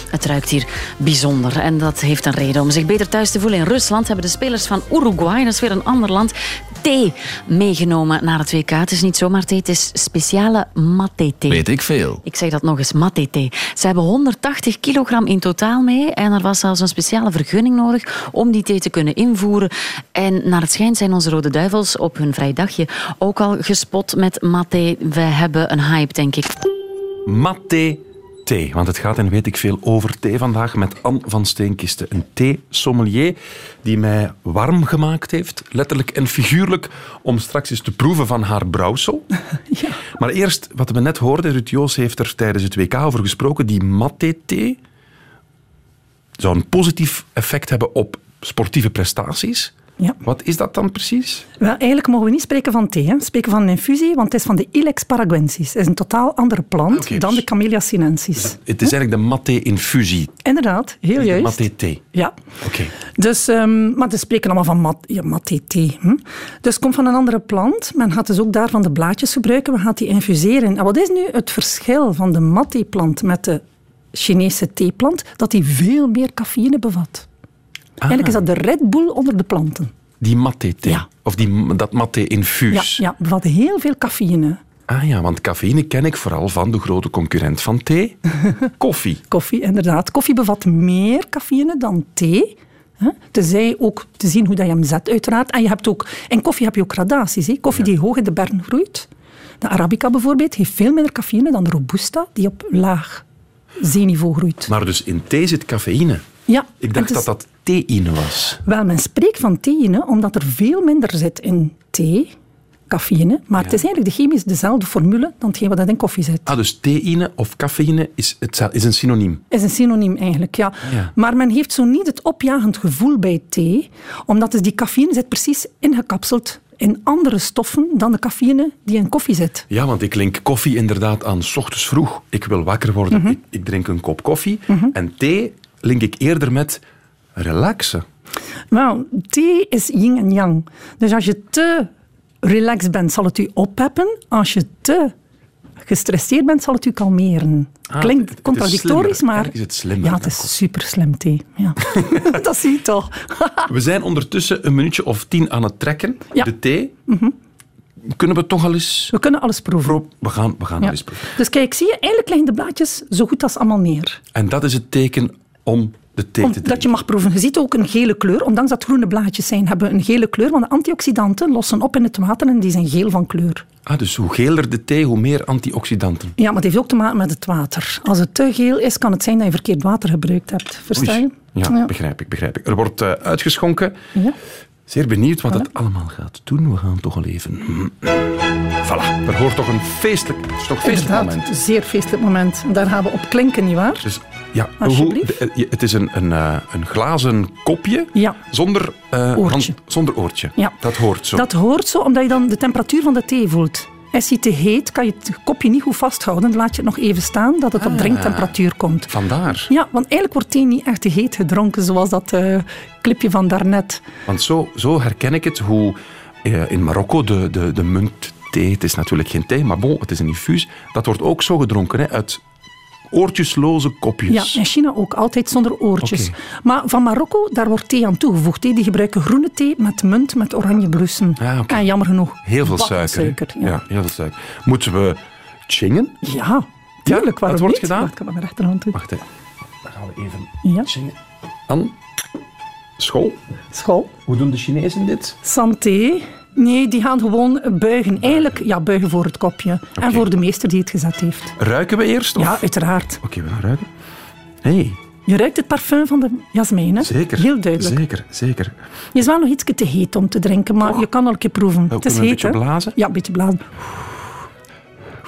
Speaker 13: Het ruikt hier bijzonder en dat heeft een reden. Om zich beter thuis te voelen in Rusland hebben de spelers van Uruguay, dat is weer een ander land, thee meegenomen naar het WK. Het is niet zomaar thee, het is speciale maté thee.
Speaker 14: Weet ik veel.
Speaker 13: Ik zeg dat nog eens, maté thee. Ze hebben 180 kilogram in totaal mee en er was zelfs een speciale vergunning nodig om die thee te kunnen invoeren. En naar het schijnt zijn onze rode duivels op hun vrijdagje ook al gespot met maté. We hebben een hype, denk ik.
Speaker 1: Maté thee. Want het gaat en weet ik veel over thee vandaag met Anne van Steenkisten. Een thee-sommelier die mij warm gemaakt heeft, letterlijk en figuurlijk, om straks eens te proeven van haar brouwsel. Maar eerst, wat we net hoorden, Ruud Joos heeft er tijdens het WK over gesproken, die maté thee zou een positief effect hebben op sportieve prestaties.
Speaker 5: Ja.
Speaker 1: Wat is dat dan precies?
Speaker 5: Wel, eigenlijk mogen we niet spreken van thee. Hè. We spreken van een infusie, want het is van de Ilex paraguensis. Het is een totaal andere plant
Speaker 1: Oké,
Speaker 5: dan
Speaker 1: dus-
Speaker 5: de Camellia sinensis.
Speaker 1: Het is eigenlijk de maté-infusie.
Speaker 5: Inderdaad, heel
Speaker 1: De
Speaker 5: juist.
Speaker 1: maté thee.
Speaker 5: Ja.
Speaker 1: Oké.
Speaker 5: Dus, ehm, maar ze spreken allemaal van mat, ja, maté thee. Hm? Dus het komt van een andere plant. Men gaat dus ook daarvan de blaadjes gebruiken. We gaan die infuseren. En wat is nu het verschil van de maté plant met de Chinese theeplant? Dat die veel meer cafeïne bevat.
Speaker 1: Ah.
Speaker 5: Eigenlijk is dat de Red Bull onder de planten.
Speaker 1: Die maté-thee.
Speaker 5: Ja.
Speaker 1: Of die, dat
Speaker 5: Ja,
Speaker 1: maté-infuus.
Speaker 5: ja, bevat heel veel cafeïne.
Speaker 1: Ah ja, want cafeïne ken ik vooral van de grote concurrent van
Speaker 5: *laughs*
Speaker 1: thee, koffie.
Speaker 5: Koffie, inderdaad. Koffie bevat meer cafeïne dan thee. Hè? Tenzij ook te zien hoe dat je hem zet, uiteraard. En je hebt ook, in koffie heb je ook gradaties. Hè? Koffie die hoog in de bergen groeit. De Arabica bijvoorbeeld heeft veel minder cafeïne dan de Robusta, die op laag zeeniveau groeit.
Speaker 1: Maar dus in thee zit cafeïne.
Speaker 5: Ja,
Speaker 1: Ik
Speaker 5: het
Speaker 1: dacht
Speaker 5: is-
Speaker 1: dat dat theïne was.
Speaker 5: Wel, men spreekt van theïne omdat er veel minder zit in thee, cafeïne. Maar het is eigenlijk de chemisch dezelfde formule dan hetgeen wat dat in koffie zit.
Speaker 1: Ah, dus theïne of cafeïne is, het, is een synoniem.
Speaker 5: Is een synoniem eigenlijk, ja.
Speaker 1: Ja.
Speaker 5: Maar men heeft zo niet het opjagend gevoel bij thee, omdat dus die cafeïne zit precies ingekapseld in andere stoffen dan de cafeïne die in koffie zit.
Speaker 1: Ja, want ik link Mhm. koffie inderdaad aan 's ochtends vroeg. Ik wil wakker worden, ik, ik drink een kop koffie. En thee link ik eerder met relaxen.
Speaker 5: Wel, thee is yin en yang. Dus als je te relaxed bent, zal het u opheppen. Als je te gestresseerd bent, zal het u kalmeren.
Speaker 1: Ah, het- het
Speaker 5: Klinkt
Speaker 1: is
Speaker 5: contradictorisch,
Speaker 1: slimmer.
Speaker 5: maar...
Speaker 1: Eigenlijk is het slimmer.
Speaker 5: Ja, het is super slim thee. Ja. *laughs* dat zie je
Speaker 1: *laughs*
Speaker 5: toch.
Speaker 1: We zijn ondertussen een minuutje of tien aan het trekken.
Speaker 5: Ja.
Speaker 1: De thee.
Speaker 5: Mhm.
Speaker 1: Kunnen we toch al eens...
Speaker 5: We kunnen alles proeven.
Speaker 1: We gaan, we gaan
Speaker 5: Ja.
Speaker 1: al eens proeven.
Speaker 5: Dus kijk, zie je, eigenlijk liggen de blaadjes zo goed als allemaal neer.
Speaker 1: En dat is het teken om de thee te drinken.
Speaker 5: Dat je mag proeven. Je ziet ook een gele kleur. Ondanks dat het groene blaadjes zijn, hebben we een gele kleur. Want de antioxidanten lossen op in het water en die zijn geel van kleur.
Speaker 1: Ah, dus hoe geler de thee, hoe meer antioxidanten.
Speaker 5: Ja, maar het heeft ook te maken met het water. Als het te geel is, kan het zijn dat je verkeerd water gebruikt hebt. Versta je?
Speaker 1: Ja,
Speaker 5: Ja.
Speaker 1: begrijp ik, begrijp ik. Er wordt eh, uitgeschonken.
Speaker 5: Ja.
Speaker 1: Zeer benieuwd wat het allemaal gaat doen. We gaan toch al even... Voilà, er hoort toch een feestelijk... Het is toch een feestelijk
Speaker 5: Inderdaad,
Speaker 1: moment.
Speaker 5: zeer feestelijk moment. En Daar gaan we op klinken, nietwaar?
Speaker 1: Dus ja,
Speaker 5: Alsjeblieft.
Speaker 1: hoe- de- eh, het is een, een, eh, een glazen kopje
Speaker 5: Ja.
Speaker 1: zonder, eh,
Speaker 5: Oortje.
Speaker 1: zonder oortje.
Speaker 5: Ja.
Speaker 1: Dat hoort zo.
Speaker 5: Dat hoort zo, omdat je dan de temperatuur van de thee voelt. Is hij te heet, kan je het kopje niet goed vasthouden. Dan laat je het nog even staan, dat het op
Speaker 1: Ah.
Speaker 5: drinktemperatuur komt.
Speaker 1: Vandaar.
Speaker 5: Ja, want eigenlijk wordt thee niet echt te heet gedronken, zoals dat eh, clipje van daarnet.
Speaker 1: Want zo, zo herken ik het hoe eh, in Marokko de, de, de muntthee, het is natuurlijk geen thee, maar bon, het is een infuus, dat wordt ook zo gedronken, hè, uit oortjesloze kopjes.
Speaker 5: Ja, in China ook, altijd zonder oortjes.
Speaker 1: Oké.
Speaker 5: Maar van Marokko, daar wordt thee aan toegevoegd. hè. Die gebruiken groene thee met munt met oranje bloesem.
Speaker 1: Ah, oké.
Speaker 5: En jammer genoeg.
Speaker 1: Heel veel
Speaker 5: bakken
Speaker 1: suiker. hè.
Speaker 5: ja.
Speaker 1: ja. heel veel suiker. Moeten we chingen?
Speaker 5: Ja, tuurlijk. waarom
Speaker 1: dat wordt
Speaker 5: niet?
Speaker 1: gedaan.
Speaker 5: Dat kan mijn rechterhand doen.
Speaker 1: Wacht, hè. dan gaan we even
Speaker 5: Ja.
Speaker 1: chingen. An, school.
Speaker 5: School.
Speaker 1: Hoe doen de Chinezen dit?
Speaker 5: Santé. Nee, die gaan gewoon buigen. Eigenlijk, ja, buigen voor het kopje. En voor de meester die het gezet heeft.
Speaker 1: Ruiken we eerst? of-
Speaker 5: Ja, uiteraard.
Speaker 1: Oké, we gaan ruiken. Hé, hey,
Speaker 5: Je ruikt het parfum van de jasmijn, hè?
Speaker 1: zeker.
Speaker 5: Heel duidelijk.
Speaker 1: Zeker, zeker.
Speaker 5: Je is wel nog iets te heet om te drinken, maar je kan al een keer proeven. het is
Speaker 1: kunnen we
Speaker 5: heet,
Speaker 1: een beetje
Speaker 5: hè?
Speaker 1: blazen?
Speaker 5: Ja, een beetje blazen.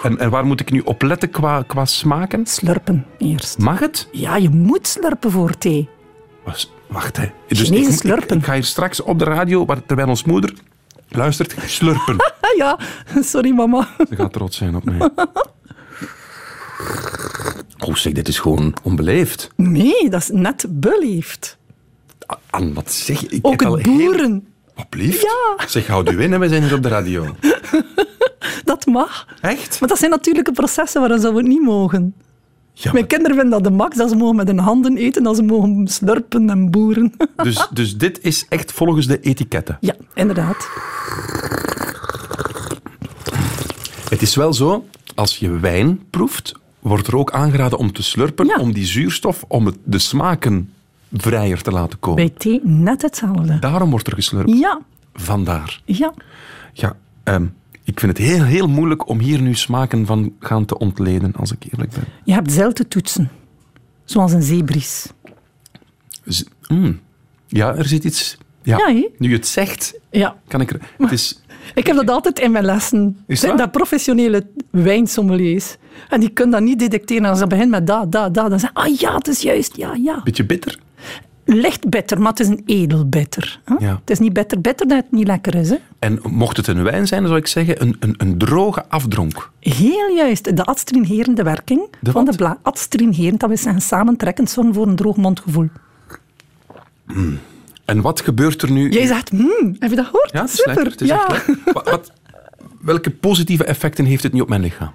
Speaker 1: En, en waar moet ik nu op letten qua, qua smaken?
Speaker 5: Slurpen eerst.
Speaker 1: Mag het?
Speaker 5: Ja, je moet slurpen voor thee. *laughs*
Speaker 1: Was- Wacht, hè. Dus
Speaker 5: Chinezen
Speaker 1: ik- ik,
Speaker 5: slurpen.
Speaker 1: Ik, ga hier straks op de radio, waar, terwijl ons moeder luistert, slurpen.
Speaker 5: Ah ja, sorry mama.
Speaker 1: Ze gaat trots zijn op mij. Oh zeg, dit is gewoon onbeleefd.
Speaker 5: Nee, dat is net beleefd.
Speaker 1: Anne, wat zeg je? Ik
Speaker 5: Ook
Speaker 1: heb al
Speaker 5: het
Speaker 1: heel-
Speaker 5: boeren,
Speaker 1: Alsjeblieft.
Speaker 5: Ja.
Speaker 1: Zeg, houd u in, hè. we zijn hier op de radio.
Speaker 5: dat mag.
Speaker 1: Echt?
Speaker 5: Maar dat zijn natuurlijke processen waarin zouden we het niet mogen.
Speaker 1: Ja,
Speaker 5: Mijn kinderen vinden dat de max, dat ze mogen met hun handen eten, dat ze mogen slurpen en boeren. *laughs*
Speaker 1: Dus, dus dit is echt volgens de etiketten.
Speaker 5: ja, inderdaad.
Speaker 1: Het is wel zo, als je wijn proeft, wordt er ook aangeraden om te slurpen,
Speaker 5: Ja.
Speaker 1: om die zuurstof, om het, de smaken vrijer te laten komen.
Speaker 5: Bij thee net hetzelfde.
Speaker 1: Daarom wordt er geslurpt.
Speaker 5: Ja,
Speaker 1: Vandaar.
Speaker 5: ja.
Speaker 1: Ja, ehm, ik vind het heel, heel moeilijk om hier nu smaken van gaan te ontleden, als ik eerlijk ben.
Speaker 5: Je hebt zeil te toetsen. Zoals een zeebries.
Speaker 1: Z- mm. Ja, er zit iets...
Speaker 5: Ja,
Speaker 1: Ja,
Speaker 5: hè?
Speaker 1: nu je het zegt,
Speaker 5: Ja.
Speaker 1: kan ik er... Het is...
Speaker 5: Ik heb dat altijd in mijn lessen.
Speaker 1: Is
Speaker 5: dat?
Speaker 1: dat?
Speaker 5: professionele wijnsommeliers. En die kunnen dat niet detecteren. Als ze beginnen met da, da, da, dan zeggen ze, ah ja, het is juist, ja, ja.
Speaker 1: Beetje bitter.
Speaker 5: Licht bitter, maar het is een edel bitter. hè?
Speaker 1: Ja.
Speaker 5: Het is niet bitter, bitter dat het niet lekker is. Hè?
Speaker 1: En mocht het een wijn zijn, zou ik zeggen, een, een, een droge afdronk.
Speaker 5: Heel juist, de adstringherende werking
Speaker 1: De
Speaker 5: van de
Speaker 1: wat?
Speaker 5: bla. Adstringherend, dat wil zeggen samentrekkend, zorgen voor een droog mondgevoel.
Speaker 1: En wat gebeurt er nu?
Speaker 5: Jij zegt, hmm, heb je dat gehoord?
Speaker 1: Ja, het is
Speaker 5: Super.
Speaker 1: lekker. Het is
Speaker 5: ja.
Speaker 1: echt lekker. Wat, wat- welke positieve effecten heeft het nu op mijn lichaam?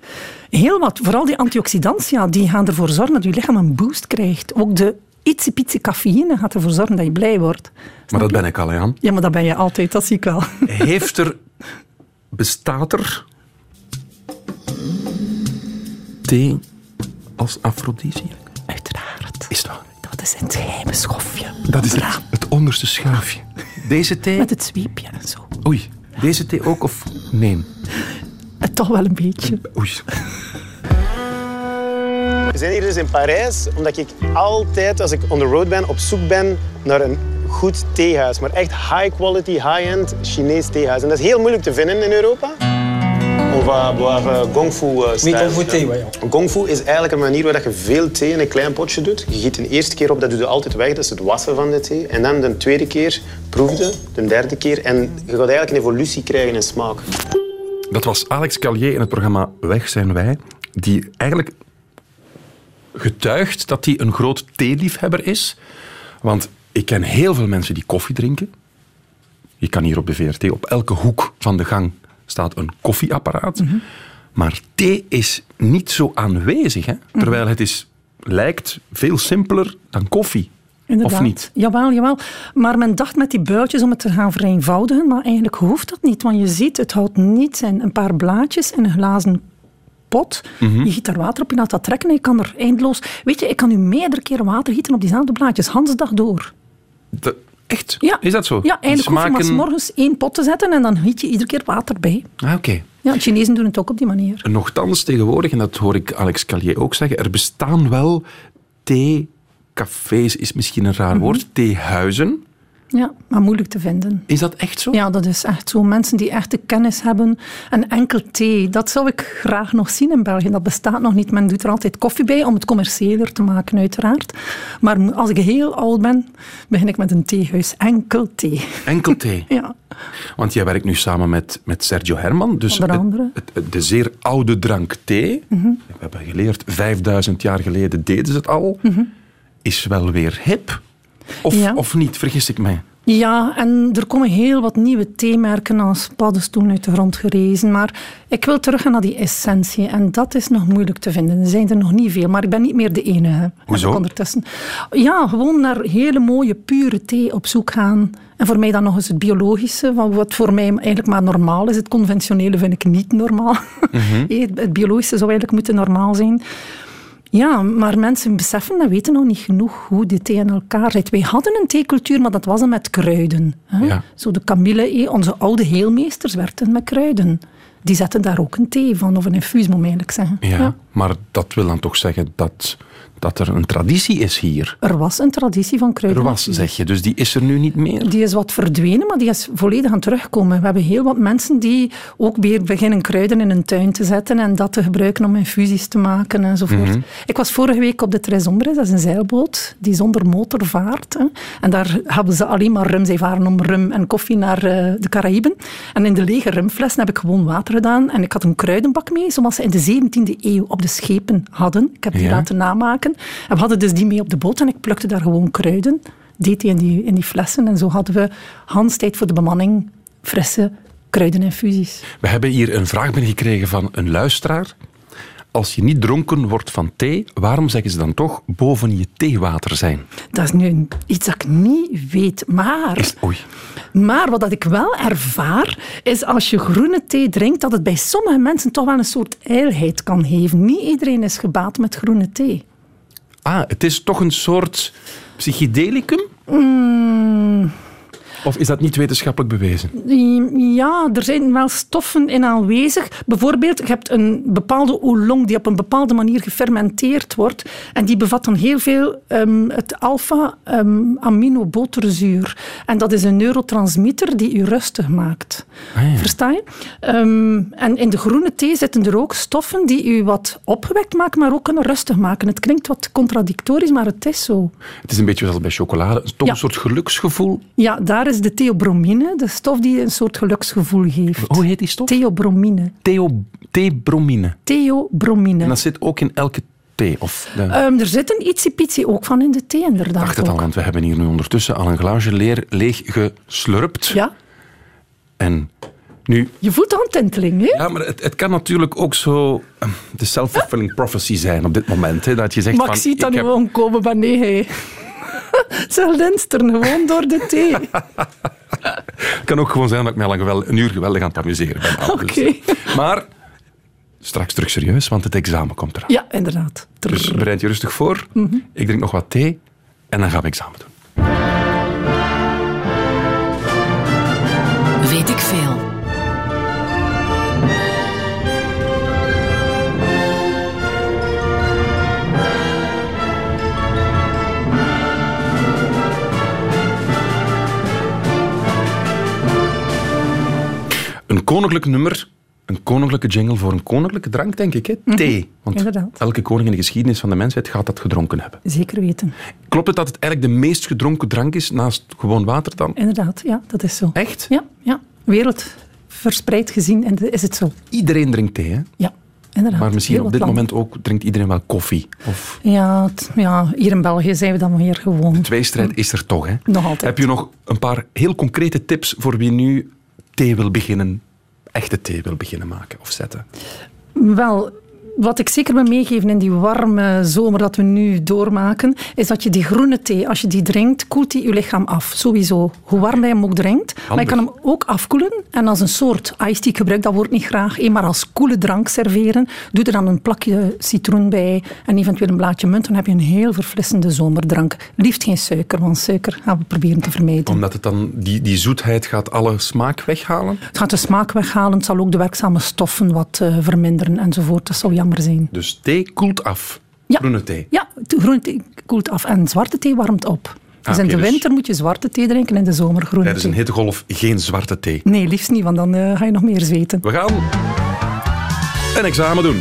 Speaker 5: Heel wat. Vooral die antioxidantia, die gaan ervoor zorgen dat je lichaam een boost krijgt. Ook de ietsiepietsie cafeïne gaat ervoor zorgen dat je blij wordt.
Speaker 1: Maar dat ben ik al, aan.
Speaker 5: Ja, maar dat ben je altijd, dat zie ik wel.
Speaker 1: Heeft er... Bestaat er... Thee als afrodisiac?
Speaker 5: Uiteraard.
Speaker 1: Is dat?
Speaker 5: Dat is het geheime schofje.
Speaker 1: Dat is
Speaker 5: Ja,
Speaker 1: het, het onderste schuifje. Deze thee...
Speaker 5: Met het zweepje en zo.
Speaker 1: Oei. Deze thee ook of... Nee.
Speaker 5: Eh, Toch wel een beetje.
Speaker 1: Oei.
Speaker 14: We zijn hier dus in Parijs, omdat ik altijd, als ik on the road ben, op zoek ben naar een goed theehuis. Maar echt high quality, high-end Chinees theehuis. En dat is heel moeilijk te vinden in Europa. On va boire eh, gong fu eh, style.
Speaker 15: gong fu thee, ouais,
Speaker 14: Gong fu is eigenlijk een manier waar je veel thee in een klein potje doet. Je giet de eerste keer op, dat doe je altijd weg, dat is het wassen van de thee. En dan de tweede keer proefde, de derde keer. En je gaat eigenlijk een evolutie krijgen in smaak.
Speaker 1: Dat was Alex Calier in het programma Weg zijn wij, die eigenlijk getuigt dat hij een groot theeliefhebber is. Want ik ken heel veel mensen die koffie drinken. Je kan hier op de VRT, op elke hoek van de gang staat een koffieapparaat.
Speaker 5: Mhm.
Speaker 1: Maar thee is niet zo aanwezig. Hè?
Speaker 5: Mhm.
Speaker 1: Terwijl het is, lijkt veel simpeler dan koffie.
Speaker 5: Inderdaad.
Speaker 1: Of niet?
Speaker 5: Jawel, jawel. Maar men dacht met die buitjes om het te gaan vereenvoudigen, maar eigenlijk hoeft dat niet. Want je ziet, het houdt niet in een paar blaadjes in een glazen pot.
Speaker 15: Mhm.
Speaker 5: Je giet daar water op, je laat dat trekken en je kan er eindeloos... Weet je, ik kan nu meerdere keren water gieten op diezelfde blaadjes, Hans dag door.
Speaker 1: Dat- echt?
Speaker 5: Ja.
Speaker 1: Is dat zo?
Speaker 5: Ja,
Speaker 1: Die
Speaker 5: eigenlijk hoef je
Speaker 1: smaken-
Speaker 5: maar 's morgens één pot te zetten en dan giet je iedere keer water bij.
Speaker 1: Ah, oké.
Speaker 5: Ja, de Chinezen doen het ook op die manier.
Speaker 1: Nochtans tegenwoordig, en dat hoor ik Alex Callier ook zeggen, er bestaan wel theecafés, is misschien een
Speaker 5: Mhm.
Speaker 1: raar woord, theehuizen.
Speaker 5: Ja, maar moeilijk te vinden.
Speaker 1: Is dat echt zo?
Speaker 5: Ja, dat is echt zo. Mensen die echte kennis hebben en enkel thee, dat zou ik graag nog zien in België. Dat bestaat nog niet. Men doet er altijd koffie bij om het commerciëler te maken, uiteraard. Maar mo- als ik heel oud ben, begin ik met een theehuis. Enkel thee. *laughs*
Speaker 1: Enkel thee.
Speaker 5: Ja.
Speaker 1: Want jij werkt nu samen met, met Sergio Herman. Dus
Speaker 5: Onder
Speaker 1: het-
Speaker 5: andere.
Speaker 1: het- het- de zeer oude drank thee,
Speaker 5: Mhm.
Speaker 1: we hebben geleerd, 5000 jaar geleden deden ze het al,
Speaker 5: Mhm.
Speaker 1: is wel weer hip. Of,
Speaker 5: Ja.
Speaker 1: of niet, vergis ik mij.
Speaker 5: Ja, en er komen heel wat nieuwe theemerken als paddenstoelen uit de grond gerezen. Maar ik wil teruggaan naar die essentie. En dat is nog moeilijk te vinden. Er zijn er nog niet veel, maar ik ben niet meer de enige. heb
Speaker 1: Hoezo?
Speaker 5: ik Ondertussen. Ja, gewoon naar hele mooie, pure thee op zoek gaan. En voor mij dan nog eens het biologische, van wat voor mij eigenlijk maar normaal is. Het conventionele vind ik niet normaal.
Speaker 1: Mhm.
Speaker 5: *laughs* Hé, Het, het biologische zou eigenlijk moeten normaal zijn. Ja, maar mensen beseffen en weten nog niet genoeg hoe die thee in elkaar zit. Wij hadden een theecultuur, maar dat was dan met kruiden. Hè?
Speaker 1: Ja.
Speaker 5: Zo de kamille, hé, onze oude heelmeesters werkten met kruiden. Die zetten daar ook een thee van, of een infuus moet ik eigenlijk zeggen.
Speaker 1: Ja, Maar dat wil dan toch zeggen dat, dat er een traditie is hier.
Speaker 5: Er was een traditie van kruiden.
Speaker 1: Er was, zeg je, dus die is er nu niet meer.
Speaker 5: Die is wat verdwenen, maar die is volledig aan het terugkomen. We hebben heel wat mensen die ook weer beginnen kruiden in hun tuin te zetten en dat te gebruiken om infusies te maken enzovoort.
Speaker 15: Mhm.
Speaker 5: Ik was vorige week op de Tres Ombres, dat is een zeilboot die zonder motor vaart. Hè. En daar hebben ze alleen maar rum. Zij varen om rum en koffie naar eh, de Caraïben. En in de lege rumflessen heb ik gewoon water gedaan. En ik had een kruidenbak mee, zoals ze in de 17e eeuw op de schepen hadden. Ik heb die
Speaker 15: Ja.
Speaker 5: laten namaken. En we hadden dus die mee op de boot en ik plukte daar gewoon kruiden. Deed die in die, in die flessen. En zo hadden we Hans tijd voor de bemanning frisse kruideninfusies.
Speaker 1: We hebben hier een vraag binnengekregen van een luisteraar. Als je niet dronken wordt van thee, waarom zeggen ze dan toch boven je theewater zijn?
Speaker 5: Dat is nu iets dat ik niet weet, maar...
Speaker 1: Oei.
Speaker 5: Maar wat dat ik wel ervaar, is als je groene thee drinkt, dat het bij sommige mensen toch wel een soort ijlheid kan geven. Niet iedereen is gebaat met groene thee.
Speaker 1: Ah, het is toch een soort psychedelicum?
Speaker 5: Mm,
Speaker 1: Of is dat niet wetenschappelijk bewezen?
Speaker 5: ja, er zijn wel stoffen in aanwezig. Bijvoorbeeld, je hebt een bepaalde oolong die op een bepaalde manier gefermenteerd wordt. En die bevat dan heel veel ehm, het alfa-aminoboterzuur. en dat is een neurotransmitter die u rustig maakt. Versta je? Ehm, en in de groene thee zitten er ook stoffen die u wat opgewekt maken, maar ook kunnen rustig maken. Het klinkt wat contradictorisch, maar het is zo.
Speaker 1: Het is een beetje zoals bij chocolade. Toch een soort geluksgevoel.
Speaker 5: Ja, daar is de theobromine, de stof die een soort geluksgevoel geeft. Hoe
Speaker 1: heet die stof?
Speaker 5: Theobromine.
Speaker 1: Theo, theebromine.
Speaker 5: Theobromine.
Speaker 1: En dat zit ook in elke thee. Of de-
Speaker 5: Ehm, er zit een ietsiepietsie ook van in de thee, inderdaad.
Speaker 1: Dacht het
Speaker 5: ook.
Speaker 1: al, want we hebben hier nu ondertussen al een glaasje leer leeg geslurpt.
Speaker 5: Ja.
Speaker 1: En nu...
Speaker 5: Je voelt al een tinteling, hè?
Speaker 1: Ja, maar het, het kan natuurlijk ook zo ehm, de self-fulfilling prophecy zijn op dit moment. Hè, dat je zegt
Speaker 5: maar
Speaker 1: van...
Speaker 5: ik zie het dan
Speaker 1: heb-
Speaker 5: gewoon komen, maar nee, hé. *laughs* Ze linsteren gewoon door de thee.
Speaker 1: *laughs* Het kan ook gewoon zijn dat ik me al een, gewel- een uur geweldig aan het amuseren ben. al.
Speaker 5: *laughs* Oké.
Speaker 1: Dus, eh, maar straks terug serieus, want het examen komt eraan.
Speaker 5: Ja, inderdaad.
Speaker 1: Dus bereid je rustig voor. Mhm. Ik drink nog wat thee en dan gaan we examen doen.
Speaker 3: Weet ik veel.
Speaker 1: Een koninklijk nummer, een koninklijke jingle voor een koninklijke drank, denk ik. Hè? Thee. Want
Speaker 5: Mhm. Inderdaad.
Speaker 1: elke koning in de geschiedenis van de mensheid gaat dat gedronken hebben.
Speaker 5: Zeker weten.
Speaker 1: Klopt het dat het eigenlijk de meest gedronken drank is, naast gewoon water dan?
Speaker 5: Inderdaad, ja, dat is zo.
Speaker 1: Echt?
Speaker 5: Ja, ja. Wereldverspreid gezien en de- is het zo.
Speaker 1: Iedereen drinkt thee, hè?
Speaker 5: Ja. Inderdaad,
Speaker 1: maar misschien
Speaker 5: heel
Speaker 1: op dit
Speaker 5: wat
Speaker 1: moment ook drinkt iedereen wel koffie. Of
Speaker 5: Ja, het- ja, hier in België zijn we dan weer gewoon.
Speaker 1: tweestrijd is er toch, hè?
Speaker 5: Nog altijd.
Speaker 1: Heb je nog een paar heel concrete tips voor wie nu thee wil beginnen, echte thee wil beginnen maken of zetten?
Speaker 5: Wel, wat ik zeker wil meegeven in die warme zomer dat we nu doormaken, is dat je die groene thee, als je die drinkt, koelt die je lichaam af. Sowieso. Hoe warm je hem ook drinkt. Maar je
Speaker 15: Handig.
Speaker 5: kan hem ook afkoelen en als een soort iced tea ik gebruik dat woord niet graag, eh, maar als koele drank serveren. Doe er dan een plakje citroen bij en eventueel een blaadje munt. Dan heb je een heel verfrissende zomerdrank. Liefst geen suiker, want suiker gaan we proberen te vermijden.
Speaker 1: Omdat het dan die, die zoetheid gaat alle smaak weghalen.
Speaker 5: Het gaat de smaak weghalen, het zal ook de werkzame stoffen wat eh, verminderen enzovoort. Dat zou jammer zijn.
Speaker 1: Dus thee koelt af.
Speaker 5: Ja.
Speaker 1: Groene thee.
Speaker 5: Ja, de groene thee koelt af en zwarte thee warmt op. dus in
Speaker 1: oké,
Speaker 5: de
Speaker 1: dus-
Speaker 5: winter moet je zwarte thee drinken, in de zomer groene
Speaker 1: Tijdens
Speaker 5: thee.
Speaker 1: een hittegolf geen zwarte thee.
Speaker 5: Nee, liefst niet, want dan eh, ga je nog meer zweten.
Speaker 1: We gaan een examen doen.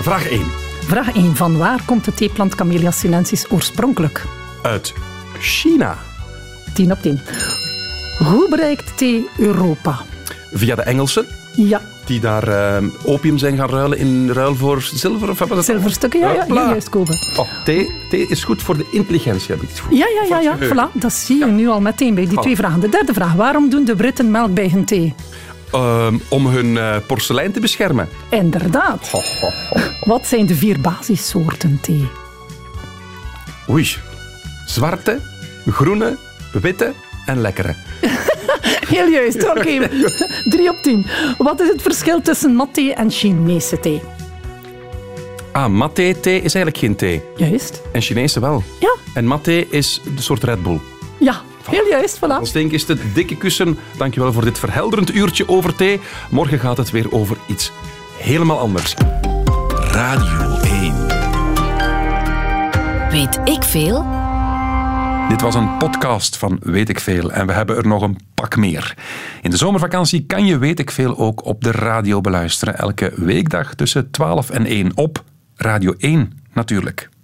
Speaker 1: Vraag 1.
Speaker 5: Vraag 1. Van waar komt de theeplant Camellia sinensis oorspronkelijk?
Speaker 1: Uit China.
Speaker 5: 10 op 10. Hoe bereikt thee Europa?
Speaker 1: Via de Engelsen,
Speaker 5: Ja,
Speaker 1: die daar eh, opium zijn gaan ruilen in ruil voor zilver. Of hebben dat
Speaker 5: zilverstukken. Ja, ja, ja,
Speaker 1: Hopla.
Speaker 5: juist komen.
Speaker 1: Oh, thee, thee is goed voor de intelligentie, heb ik het goed.
Speaker 5: Ja, ja, ja, ja.
Speaker 1: Geheugen.
Speaker 5: Voilà, dat zie je nu al meteen bij die
Speaker 1: Voilà.
Speaker 5: twee vragen. De derde vraag. Waarom doen de Britten melk bij hun thee?
Speaker 1: Ehm, om hun eh, porselein te beschermen.
Speaker 5: Inderdaad.
Speaker 1: Ho, ho, ho.
Speaker 5: Wat zijn de vier basissoorten thee?
Speaker 1: Oei. Zwarte, groene, witte en lekkere.
Speaker 5: Heel juist, oké. 3 op 10. Wat is het verschil tussen matte en Chinese thee?
Speaker 1: Ah, matte thee is eigenlijk geen thee.
Speaker 5: Juist.
Speaker 1: En Chinese wel.
Speaker 5: Ja. Ah.
Speaker 1: En matte is de soort Red Bull.
Speaker 5: Ja, heel juist, voilà.
Speaker 1: Als denk is het een dikke kussen. Dankjewel voor dit verhelderend uurtje over thee. Morgen gaat het weer over iets helemaal anders. Radio 1.
Speaker 3: Weet ik veel?
Speaker 1: Dit was een podcast van Weet ik Veel en we hebben er nog een pak meer. In de zomervakantie kan je Weet ik Veel ook op de radio beluisteren. Elke weekdag tussen 12 en 1 op Radio 1 natuurlijk.